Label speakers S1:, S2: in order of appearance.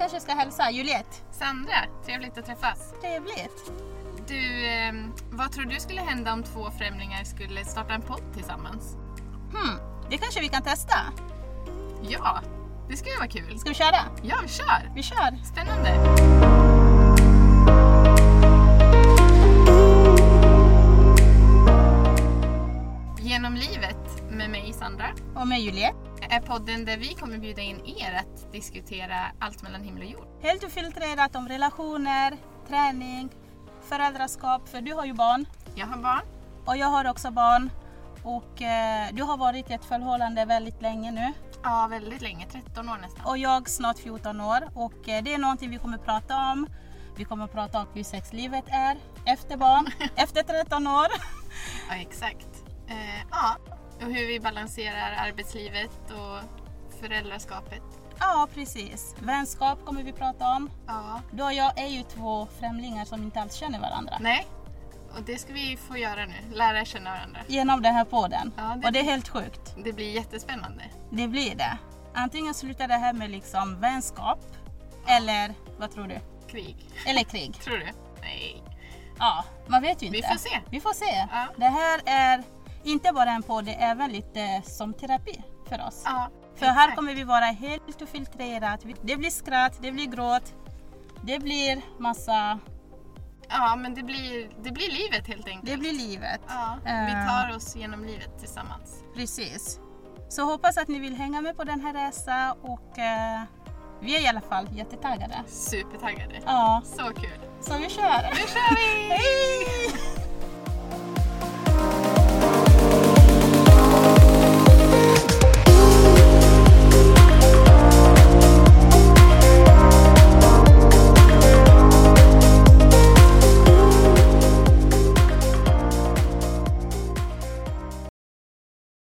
S1: Sandra, Juliette.
S2: Sandra, trevligt att träffas.
S1: Trevligt.
S2: Du, ehm, vad tror du skulle hända om två främlingar skulle starta en podd tillsammans?
S1: Hmm, det kanske vi kan testa.
S2: Ja, det skulle vara kul.
S1: Ska vi köra?
S2: Ja, vi kör!
S1: Vi kör.
S2: Spännande! Genom livet med mig Sandra
S1: Och med Juliette.
S2: är podden där vi kommer bjuda in er att diskutera allt mellan himmel och jord.
S1: Helt ofiltrerat om relationer, träning, föräldraskap. För du har ju barn
S2: Jag har barn.
S1: och jag har också barn. Och eh, du har varit i ett förhållande väldigt länge nu.
S2: Ja, väldigt länge. 13 år nästan.
S1: och jag snart 14 år och eh, det är någonting vi kommer prata om. Vi kommer prata om hur sexlivet är efter barn, efter 13 år.
S2: Ja, exakt. Eh, ja, och hur vi balanserar arbetslivet och föräldraskapet.
S1: Ja, precis. Vänskap kommer vi prata om.
S2: Ja.
S1: Du och jag är ju två främlingar som inte alls känner varandra
S2: Nej, och det ska vi få göra nu. Lära känna varandra.
S1: genom den här podden.
S2: Ja, det-
S1: Och det är helt sjukt.
S2: Det blir jättespännande.
S1: Det blir det. Antingen slutar det här med liksom vänskap eller vad tror du?
S2: Krig.
S1: Eller krig.
S2: Tror du? Nej.
S1: Ja, man vet ju inte.
S2: Vi får se.
S1: Vi får se.
S2: Ja.
S1: Det här är inte bara en podd, det är även lite som terapi för oss.
S2: Ja,
S1: För här
S2: exakt.
S1: kommer vi vara helt ofiltrerat. Vi- Det blir skratt, det blir gråt, det blir massa...
S2: Ja, men det blir, det blir livet helt enkelt.
S1: Det blir livet.
S2: Ja, vi
S1: Eh.
S2: tar oss genom livet tillsammans.
S1: Precis. Så hoppas att ni vill hänga med på den här resan och eh, vi är i alla fall jättetaggade.
S2: Supertaggade.
S1: Ja,
S2: Så kul.
S1: så vi kör!
S2: Nu kör vi!
S1: Hej!